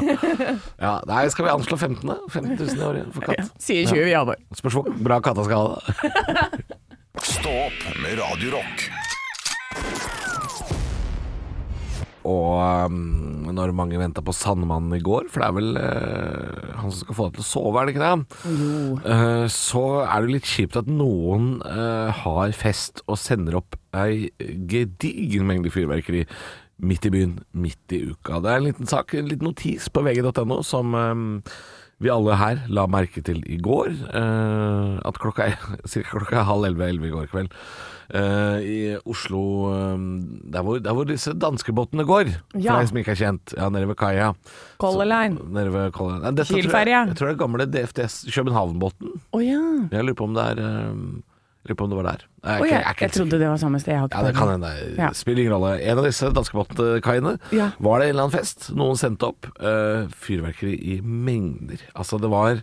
ja. Nei, skal vi anslå 15, da? 15 000 i året for
Ja,
katt.
sier 20 i alvor.
Spørs hvor bra katta skal ha det.
Stå opp med Radio Rock.
Og um, når mange venta på Sandmannen i går, for det er vel eh, han som skal få deg til å sove, er det ikke det? Eh, så er det litt kjipt at noen eh, har fest og sender opp ei gedigen mengde fyrverkeri midt i byen, midt i uka. Det er en liten sak, en liten notis på vg.no som eh, vi alle her la merke til i går, eh, at klokka er cirka klokka er halv elleve elleve i går kveld eh, i Oslo, eh, der, hvor, der hvor disse danskebåtene går,
Ja.
for deg som ikke er kjent, ja, nede ved kaia.
Color Line.
Så- Nede ved Color Line. Nei, dette tror jeg,
Kielferja.
jeg tror det er gamle DFDS København-båten.
Å ja.
Jeg lurer på om det er eh, Lurer på om det var der. Nei, er
Å,
ikke-
ja.
er ikke
Jeg
helt sikker.
trodde det var samme sted. Jeg
Ja,
har ikke
det kan
peiling.
hende. Det
Ja.
Spiller ingen rolle. En av disse danskebåtkaiene
Ja.
var det en eller annen fest. Noen sendte opp eh, fyrverkeri i mengder. Altså, det var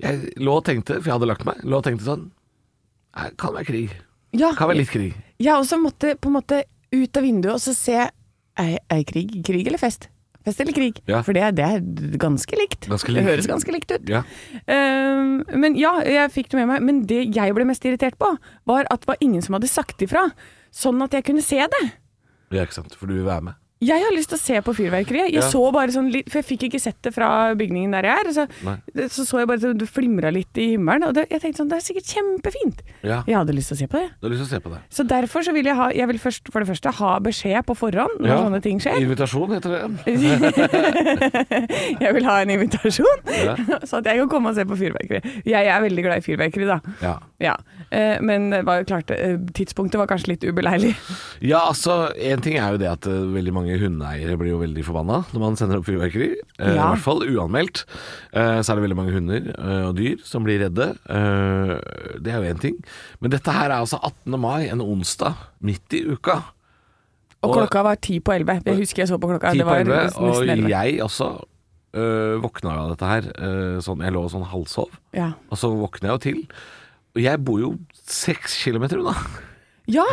Jeg lå og tenkte, for jeg hadde lagt meg, lå og tenkte sånn "Nei, Kan være krig.
Ja,
Kan være litt krig.
Jeg også måtte på en måte ut av vinduet og så se er, er krig, krig eller fest? Fest eller krig?
Ja.
For det, det er ganske likt.
Ganske
Det
likt.
høres ganske likt ut.
Ja.
Ehm, men ja, jeg fikk det med meg. Men det jeg ble mest irritert på, var at det var ingen som hadde sagt ifra, sånn at jeg kunne se det.
ja, ikke sant. For du vil være med.
Jeg har lyst til å se på fyrverkeriet. Jeg
Ja.
så bare sånn litt, For jeg fikk ikke sett det fra bygningen der jeg er. Så,
Nei.
så, så jeg bare at det flimra litt i himmelen, og det, jeg tenkte sånn Det er sikkert kjempefint.
Ja.
Jeg hadde lyst til å se på det.
Du har lyst til å se på det.
Så derfor så vil jeg ha Jeg vil først, for det første ha beskjed på forhånd når
Ja.
sånne ting skjer.
Invitasjon heter det.
Jeg vil ha en invitasjon,
Ja.
så at jeg kan komme og se på fyrverkeri. Jeg er veldig glad i fyrverkeri, da.
Ja.
Ja. Eh, Men det var jo klart, eh, tidspunktet var kanskje litt ubeleilig.
ja, altså, en ting er jo det at eh, veldig mange hundeeiere blir jo veldig forbanna når man sender opp fyrverkeri. Eh, I
Ja.
hvert fall uanmeldt. Eh, så er det veldig mange hunder eh, og dyr som blir redde. Eh, det er jo én ting. Men dette her er altså 18. mai, en onsdag, midt i uka.
Og
Og-
klokka var ti på elleve. Jeg husker jeg så på klokka.
Ti
Det
på
var
elleve,
nesten
og
elleve.
jeg også øh, våkna jo av dette her. øh, sånn, jeg lå sånn halvsov,
Ja.
og så våkna jeg jo til. Og jeg bor jo seks kilometer unna.
ja!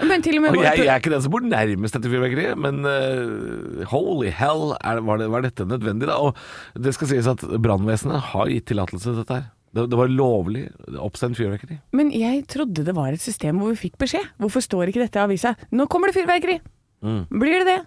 Men til og med
Og jeg, jeg er ikke den som bor nærmest dette fyrverkeriet, men øh, holy hell, er, var, det, var dette nødvendig da? Og det skal sies at brannvesenet har gitt tillatelse til dette her. Det, det var lovlig oppsendt fyrverkeri.
Men jeg trodde det var et system hvor vi fikk beskjed. Hvorfor står ikke dette i avisa? Nå kommer det fyrverkeri!
Mm.
Blir det det?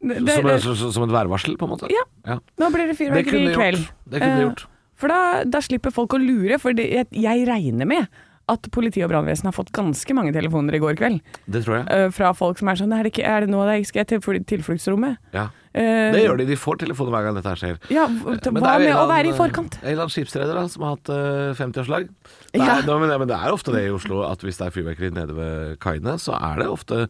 det, det,
Som,
det
som- som et værvarsel, på en måte.
Ja. nå blir det
Det
fyrverkeri
kunne
i
de
kveld.
gjort. Det kunne de
Eh,
gjort.
For da, da slipper folk å lure, for det, jeg, jeg regner med at politi og brannvesen har fått ganske mange telefoner i går kveld
Det tror jeg.
eh, fra folk som er sånn Er det, ikke, er det nå det er- skal jeg til fly- tilfluktsrommet?
Ja.
Eh,
Det gjør de. De får telefon hver gang dette her skjer.
Ja, hva
Eh, Men det er jo
med
en
å
eller
være i
annen- eh,
forkant?
En eller annen skipsreder da, som har hatt eh, 50-årslag. Det er-
Ja.
nå, Men, det- men det er ofte det i Oslo at hvis det er fyrverkeri nede ved kaiene, så er det ofte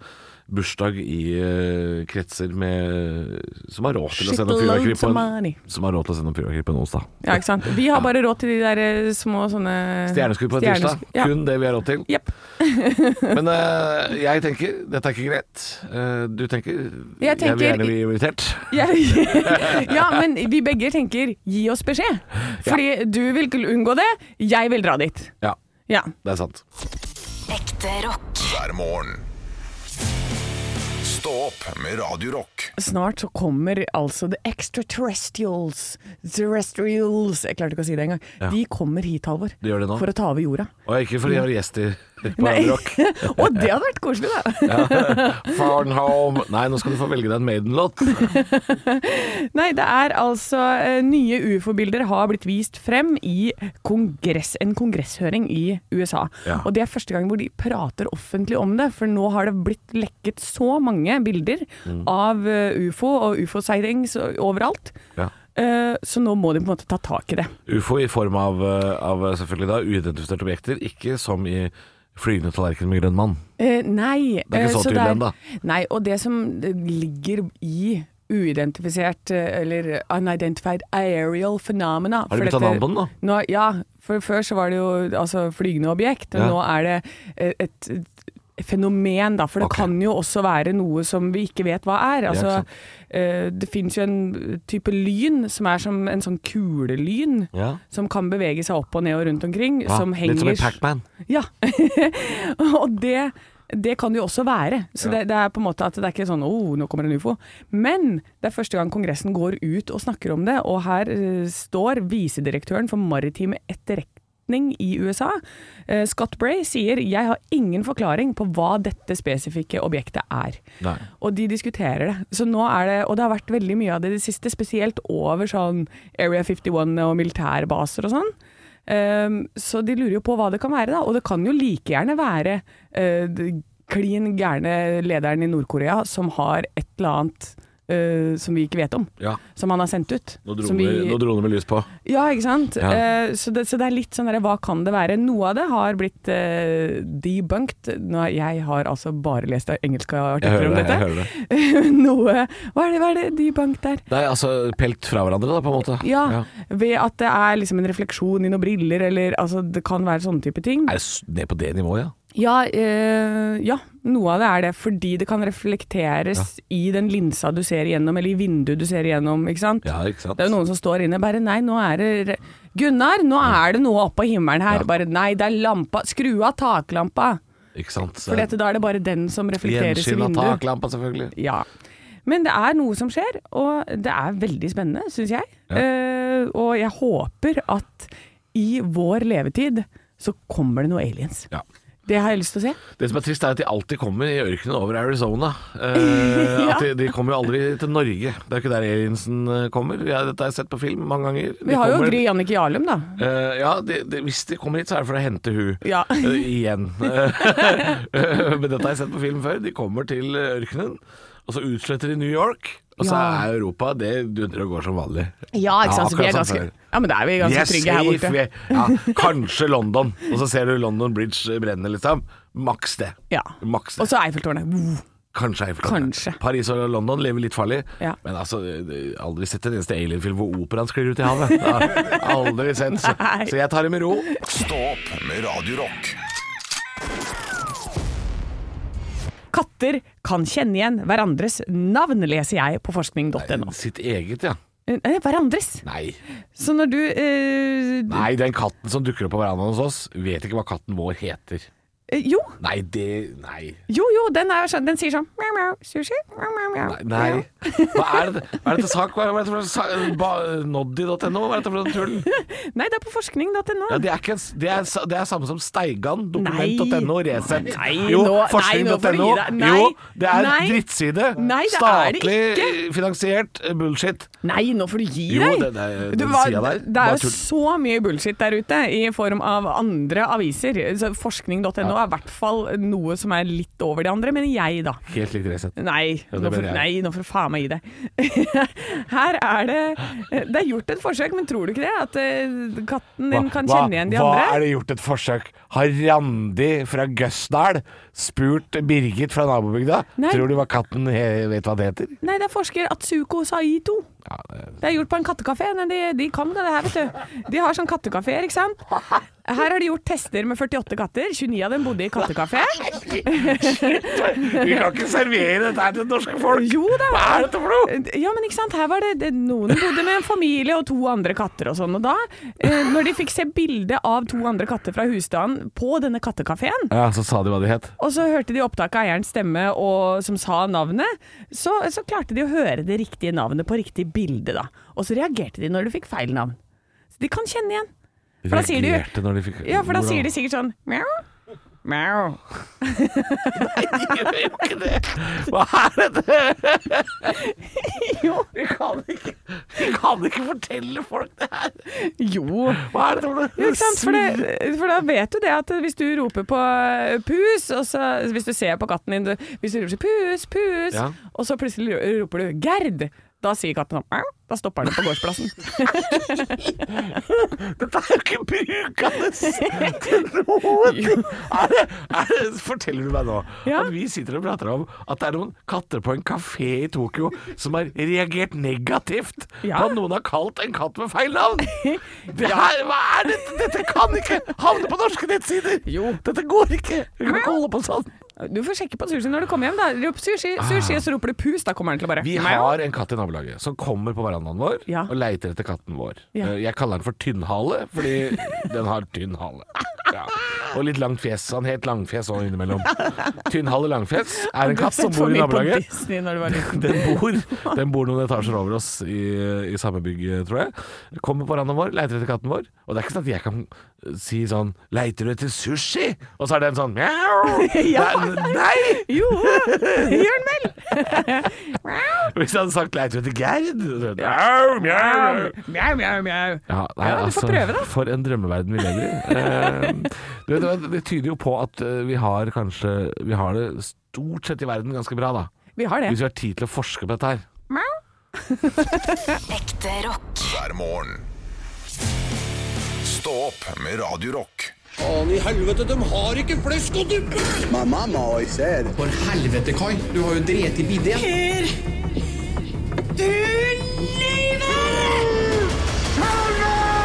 bursdag i eh, kretser med, som har råd til å
Shit
sende fyrverkeri
loads
på
of
en,
money.
som har råd til å sende fyrverkeri på en onsdag.
Ja, ikke sant. Vi har bare råd til de der eh, små sånne
Stjerneskudd på en tirsdag.
stjernes- Ja.
Kun det vi har råd til.
Jepp.
Men eh, jeg tenker dette er ikke greit. Eh, du tenker
Jeg
jeg vil
tenker-
gjerne bli invitert.
Ja, ja, men vi begge tenker 'gi oss beskjed'. Fordi du vil unngå det, jeg vil dra dit.
Ja,
Ja.
det er sant.
Ekte rock.
hver morgen. Stå opp med Radio Rock.
Snart så kommer altså The Extraterrestrials Terrestrials Jeg klarte ikke å si det engang. De kommer hit, Halvor.
De gjør det nå.
For å ta over jorda.
Og ikke fordi jeg har gjester på
Nei.
Radio Rock.
Og det hadde vært koselig, da.
Farnholm Nei, nå skal du få velge deg en Maiden-låt.
Nei, det er altså eh, Nye ufo-bilder har blitt vist frem i kongress, en kongresshøring i USA.
Ja.
Og det er første gang hvor de prater offentlig om det, for nå har det blitt lekket så mange bilder
Mm.
av eh, ufo og ufo-sightings overalt.
Ja.
Eh, Så nå må de på en måte ta tak i det.
Ufo i form av, eh, av eh, selvfølgelig da uidentifiserte objekter, ikke som i Flygende tallerken med grønn mann.
Eh, nei.
Det er ikke
eh,
så tydelig
det er-
ennå.
Nei, og det som eh, ligger i uidentifisert, eh, eller unidentified aerial phenomena
Har de
for
bytta
dette-
navn på den, da?
Nå, ja, for før så var det jo altså, flygende objekt, og
Ja.
nå er det eh, et, et fenomen, da, for det
Ok.
kan jo også være noe som vi ikke vet hva er.
ikke
Altså,
sant.
eh, det fins jo en type lyn som er som en sånn kulelyn.
Ja.
Som kan bevege seg opp og ned og rundt omkring.
Ja,
som henger
Litt som i Pac-Man.
Ja. og det, det kan det jo også være. Så det, det er på en måte at det er ikke sånn oh, nå kommer en ufo. Men det er første gang Kongressen går ut og snakker om det, og her eh, står visedirektøren for maritim etterretning i USA, eh, Scott Bray, sier jeg har ingen forklaring på hva dette spesifikke objektet er.
Nei.
Og de diskuterer det. Så nå er det, og det har vært veldig mye av det i det siste, spesielt over sånn Area 51 og militærbaser og sånn. Ehm, så de lurer jo på hva det kan være, da. Og det kan jo like gjerne være eh, d- klin gærne lederen i Nord-Korea som har et eller annet eh, som vi ikke vet om.
Ja.
Som han har sendt ut.
Nå dro
som vi,
vi- nå dro han med lys på.
ja, ikke sant?
Ja.
Eh, så, det, så det er litt sånn der, hva kan det være? Noe av det har blitt eh, debunked. Nå, jeg har altså bare lest engelske
Jeg
artikler
hører
om
det.
dette.
jeg hører det
Noe Hva er det, hva er det debunked der?
Nei, altså pelt fra hverandre, da, på en måte.
Ja, ved at det er liksom en refleksjon i noen briller, eller altså, det kan være sånne type ting.
Er det s- ned på det nivået, ja?
Ja, eh, ja, noe av det er det, fordi det kan reflekteres i den linsa du ser igjennom, eller i vinduet du ser igjennom, ikke sant?
Ja, ikke sant?
Det er jo noen som står inne bare Nei, nå er det re- Gunnar, nå er det noe oppå himmelen her.
Ja.
Bare nei, det er lampa. Skru av taklampa.
Ikke sant? Så
For dette, da er det bare den som reflekteres i
Gjenskinn av
vinduet.
taklampa, selvfølgelig.
Ja. Men det er noe som skjer, og det er veldig spennende, syns jeg.
Ja.
Eh, og jeg håper at i vår levetid så kommer det noe aliens.
Ja.
Det har jeg lyst til å se.
Det som er trist, er at de alltid kommer i ørkenen over Arizona. Eh,
Ja.
at de, de kommer jo aldri til Norge. Det er jo ikke der aliensen eh, kommer. Ja, dette har jeg sett på film mange ganger. De
Vi har jo
kommer-
Gry Jannicke Jarlum, da.
Eh, ja, de, de, hvis de kommer hit, så er det for å hente hun
Ja.
Eh, igjen. Eh, men dette har jeg sett på film før. De kommer til ørkenen, og så utsletter de New York. Og så
Ja.
er Europa Det dundrer og går som vanlig.
Ja, ikke sant. Så vi
akkurat
er
som
ganske
før.
Ja, men da er vi
Vi
ganske
er
trygge her
safe,
borte.
vi er- ja, kanskje London. Og så ser du London Bridge brenne, liksom. Maks det.
Ja.
Maks
Og
det.
så Eiffeltårnet. Vuh.
Kanskje Eiffeltårnet.
Kanskje.
Paris og London lever litt farlig.
Ja.
Men altså, det- aldri sett en eneste alienfilm hvor operaen sklir ut i havet. Det har jeg Aldri sett. Så,
Nei.
så jeg tar det med ro.
Stå opp med Radio Rock.
Katter kan kjenne igjen hverandres navn, leser jeg på forskning.no.
Sitt eget, ja.
Eh, Hverandres!
Nei.
Så når du eh,
Nei, den katten som dukker opp på verandaen hos oss, vet ikke hva katten vår heter.
eh, Jo,
Nei, det Nei.
jo, jo, den, er, sånn- den sier sånn mjau, mjau, sushi, mjau, mjau, mjau.
Nei. nei. Hva er det Hva er dette sak? Hva er dette for sak? Ba- Noddy.no? Hva er dette for noe tull?
Nei, det er på forskning.no.
Ja, det, er ikke, en- det, er, sa- det er samme som Steigan, dokument.no, Resett.
Nei,
Jo,
nå- nei, nå får du
forskning.no.
gi deg. Nei,
Jo, det er
nei.
drittside.
Nei, det er det
Statlig eh, finansiert bullshit.
Nei, nå får du gi
Jo,
deg!
det- det-
Du,
den
hva-
siden der,
det er
bare
jo
tull.
så mye bullshit der ute i form av andre aviser. Så Forskning.no er i hvert fall noe som er litt over de andre, mener jeg, da.
Helt likt Resett.
Nei,
Ja, det
nå
mener
får,
jeg.
nei, nå får du faen meg gi deg. Her er det Det er gjort et forsøk, men tror du ikke det? At eh, katten din kan kjenne igjen de
hva
andre?
er det gjort et forsøk? Har Randi fra Gøsdal spurt Birgit fra nabobygda?
Nei.
Tror du hva katten he, vet hva det heter?
Nei, det er forsker Atsuko Saito. Det er gjort på en kattekafé. Nei, de, de kan det her, vet du. De har sånn kattekaféer, ikke sant. Her har de gjort tester med 48 katter. 29 av dem bodde i kattekafé.
Vi kan ikke servere dette her til det norske folk!
Jo da.
Hva er dette for noe?
Eh, Ja, men ikke sant. Her var det, det Noen bodde med en familie og to andre katter og sånn. Og da, eh, når de fikk se bilde av to andre katter fra husstanden på denne kattekafeen,
Ja, Så sa de hva de het.
og så hørte de opptak av eierens stemme og, som sa navnet, så, så klarte de å høre det riktige navnet på riktig bilde, da. Og så reagerte de når de fikk feil navn. Så de kan kjenne igjen. For da sier de-
Reagerte når de fikk
Ja, for da
Hvordan?
sier de sikkert sånn mjau, mjau.
De gjør jo ikke det! Hva er dette?
Jo,
Vi kan ikke, vi kan ikke fortelle folk det her!
jo.
Hva er dette for noe?
Jo, ikke sant? For, det, for da vet du det at hvis du roper på eh, pus, og så, hvis du ser på katten din du, Hvis du roper sånn, pus, pus,
Ja.
og så plutselig roper du Gerd, da sier katten sånn mjau. Da stopper den på gårdsplassen.
Dette er jo ikke brukende til noen ting! Er det, er det, forteller du meg nå
Ja.
at vi sitter og prater om at det er noen katter på en kafé i Tokyo som har reagert negativt
Ja.
på at noen har kalt en katt med feil navn? Det her, hva er dette? Dette kan ikke havne på norske nettsider!
Jo.
Dette går ikke! Vi kan ikke holde på sånn.
Du får sjekke på sushi når du kommer hjem. da Rop sushi, sushi, så roper du pus, da kommer han til å bare
Ah. Vi har en katt i nabolaget som kommer på verandaen vår
Ja.
og leiter etter katten vår.
Ja.
Eh, Jeg kaller den for Tynnhale, fordi den har tynn hale. Ja. Og litt langt fjes. Han het Langfjes òg innimellom. Tynnhale Langfjes er en katt som bor i nabolaget.
Disney når du var liten.
Den bor, den bor noen etasjer over oss i, i samme bygg, tror jeg. Kommer på verandaen vår, leiter etter katten vår. Og det er ikke sånn at jeg kan si sånn 'Leiter du etter sushi?' Og så er den sånn mjau.
Ja.
Nei, nei!
Jo, det gjør den vel!
Hvis jeg hadde sagt 'leiter du etter Gerd?' så- Mjau, mjau.
Mjau, mjau, mjau.
Ja, nei,
Ja, du får
altså,
prøve, da.
For en drømmeverden vi lever i. Eh, du vet hva, det tyder jo på at eh, vi har kanskje Vi har det stort sett i verden ganske bra, da.
Vi har det.
Hvis vi har tid til å forske på dette her.
Ekte rock.
hver morgen. Stå opp med Radio Rock.
Faen i helvete, de har ikke flesk og duppe! My mama always said. For helvete, Kai. Du har jo dret i bidé.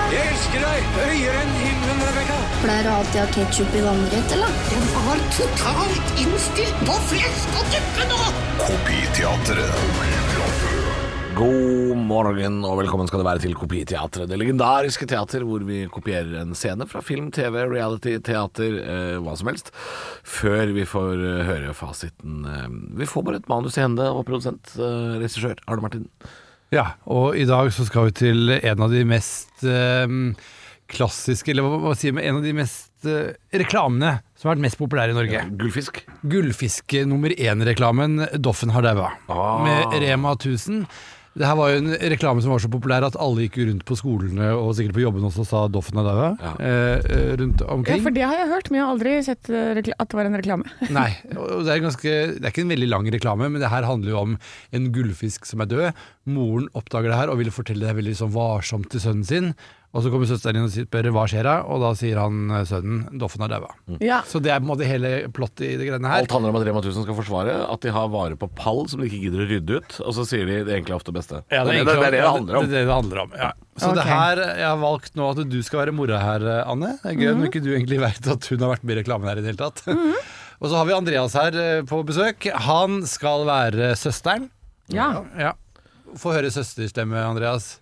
Jeg elsker deg høyere enn himmelen, Rebekka.
Pleier du alltid å ha ketsjup i vannrett, eller?
De var totalt innstilt på flesk og duppe nå!
Kopiteatret.
God morgen og velkommen skal det være til Kopiteatret. Det legendariske teater hvor vi kopierer en scene fra film, TV, reality, teater, eh, hva som helst, før vi får eh, høre fasiten. Eh, Vi får bare et manus i hende, og produsent, eh, regissør Arne Martin.
Ja, og i dag så skal vi til en av de mest eh, klassiske, eller hva, hva sier man, en av de mest eh, reklamene som har vært mest populære i Norge.
Gullfisk.
Gullfiske nummer én-reklamen 'Doffen har daua',
Ah.
med Rema 1000. Det her var jo en reklame som var så populær at alle gikk rundt på skolene og sikkert på jobben også og sa 'Doffen har daua'
Ja.
eh, eh, rundt
Ja,
omkring.
for det har jeg hørt, men jeg har aldri sett eh, rekla- at det var en reklame.
Nei, og det er, ganske, det er ikke en veldig lang reklame, men det her handler jo om en gullfisk som er død. Moren oppdager det her og vil fortelle det veldig sånn varsomt til sønnen sin. Og så kommer søsteren inn og spør hva skjer da, og da sier han eh, sønnen Doffen har daua.
Ja.
Så det er på en måte hele plottet i det greiene her.
Mm. Alt handler om at Rema 1000 skal forsvare at de har vare på pall som de ikke gidder å rydde ut, og så sier de det enkle er ofte beste.
Ja,
det, det, er det det handler om.
Det er det det handler om, ja. Så det
Ok.
her, jeg har valgt nå at du skal være mora her, eh, Anne. Det er gøy
Mhm.
når ikke du egentlig vet at hun har vært med i reklamen her i det hele tatt. Og så har vi Andreas her eh, på besøk. Han skal være søsteren.
Ja.
Ja. Få høre søsterstemme, Andreas.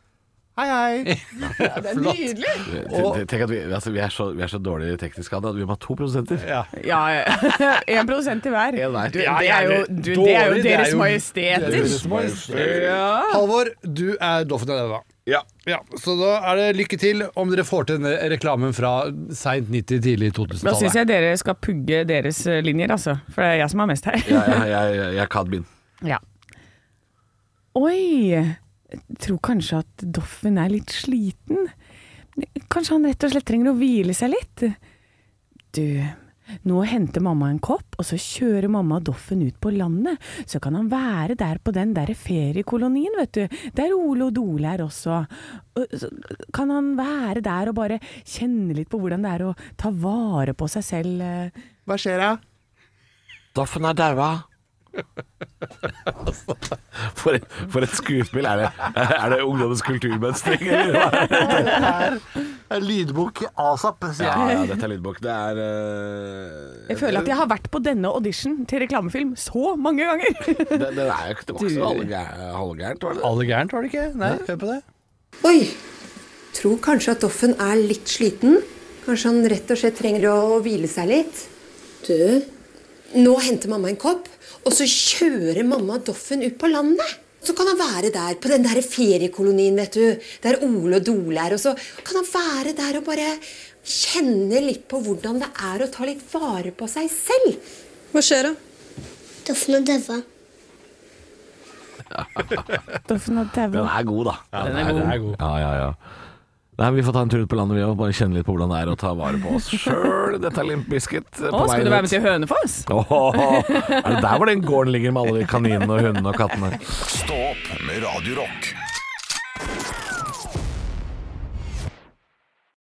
Hei, hei.
Det er nydelig!
Tenk- Tenk at vi, altså, vi, er så, vi er så dårlige teknisk av det at vi må ha to produsenter.
Ja.
Ja, én produsent i hver.
En hver.
Du,
Ja,
det, er jo,
jævlig
du, det er jo
dårlig, det er
Deres
jo-
Majesteter.
Deres Majestet. Halvor, du er Doffen og Deva.
Ja.
Ja, så da er det lykke til om dere får til denne reklamen fra seint 90, tidlig
Da syns
2000-tallet.
jeg dere skal pugge deres eh, linjer, altså. For det er jeg som har mest her.
Jeg, jeg, jeg, jeg er Kadbin.
Ja. Oi! Jeg tror kanskje at Doffen er litt sliten. Kanskje han rett og slett trenger å hvile seg litt. Du, nå henter mamma en kopp, og så kjører mamma Doffen ut på landet. Så kan han være der på den der feriekolonien, vet du. Der Ole og Dole er også. Og Så kan han være der og bare kjenne litt på hvordan det er å ta vare på seg selv. eh.
Hva skjer da?
Doffen er daua. For, for et skuespill. Er det, er det ungdommens kulturmønstring? eller hva?
Lydbok asap, sier
Ja, ja, dette er lydbok. Det er eh,
Jeg føler at jeg har vært på denne audition til reklamefilm så mange ganger.
det, det, det er jo ikke det var ikke så halvgæ- halvgærent, var det?
Alle gærent, var det ikke? Nei, hør på det.
Oi! Tror kanskje at Doffen er litt sliten. Kanskje han rett og slett trenger å hvile seg litt. Du, nå henter mamma en kopp, og så kjører mamma Doffen ut på landet. Så kan han være der på den der feriekolonien, vet du, der Ole og Dole er. Og så kan han være der og bare kjenne litt på hvordan det er å ta litt vare på seg selv. Hva skjer da?
Doffen er daua.
Doffen og Tauvo.
Den er god, da.
den er god. Den er god.
Ja, ja, ja. Nei, men Vi får ta en tur ut på landet, vi òg. Bare kjenne litt på hvordan det er å ta vare på oss sjøl. Dette er Limp Biscuit. eh,
Å,
på
skal
veien
du
ut.
være med til Hønefoss?
Åh, er det der hvor den gården ligger med alle de kaninene og hundene og kattene?
Stå opp med Radio Rock.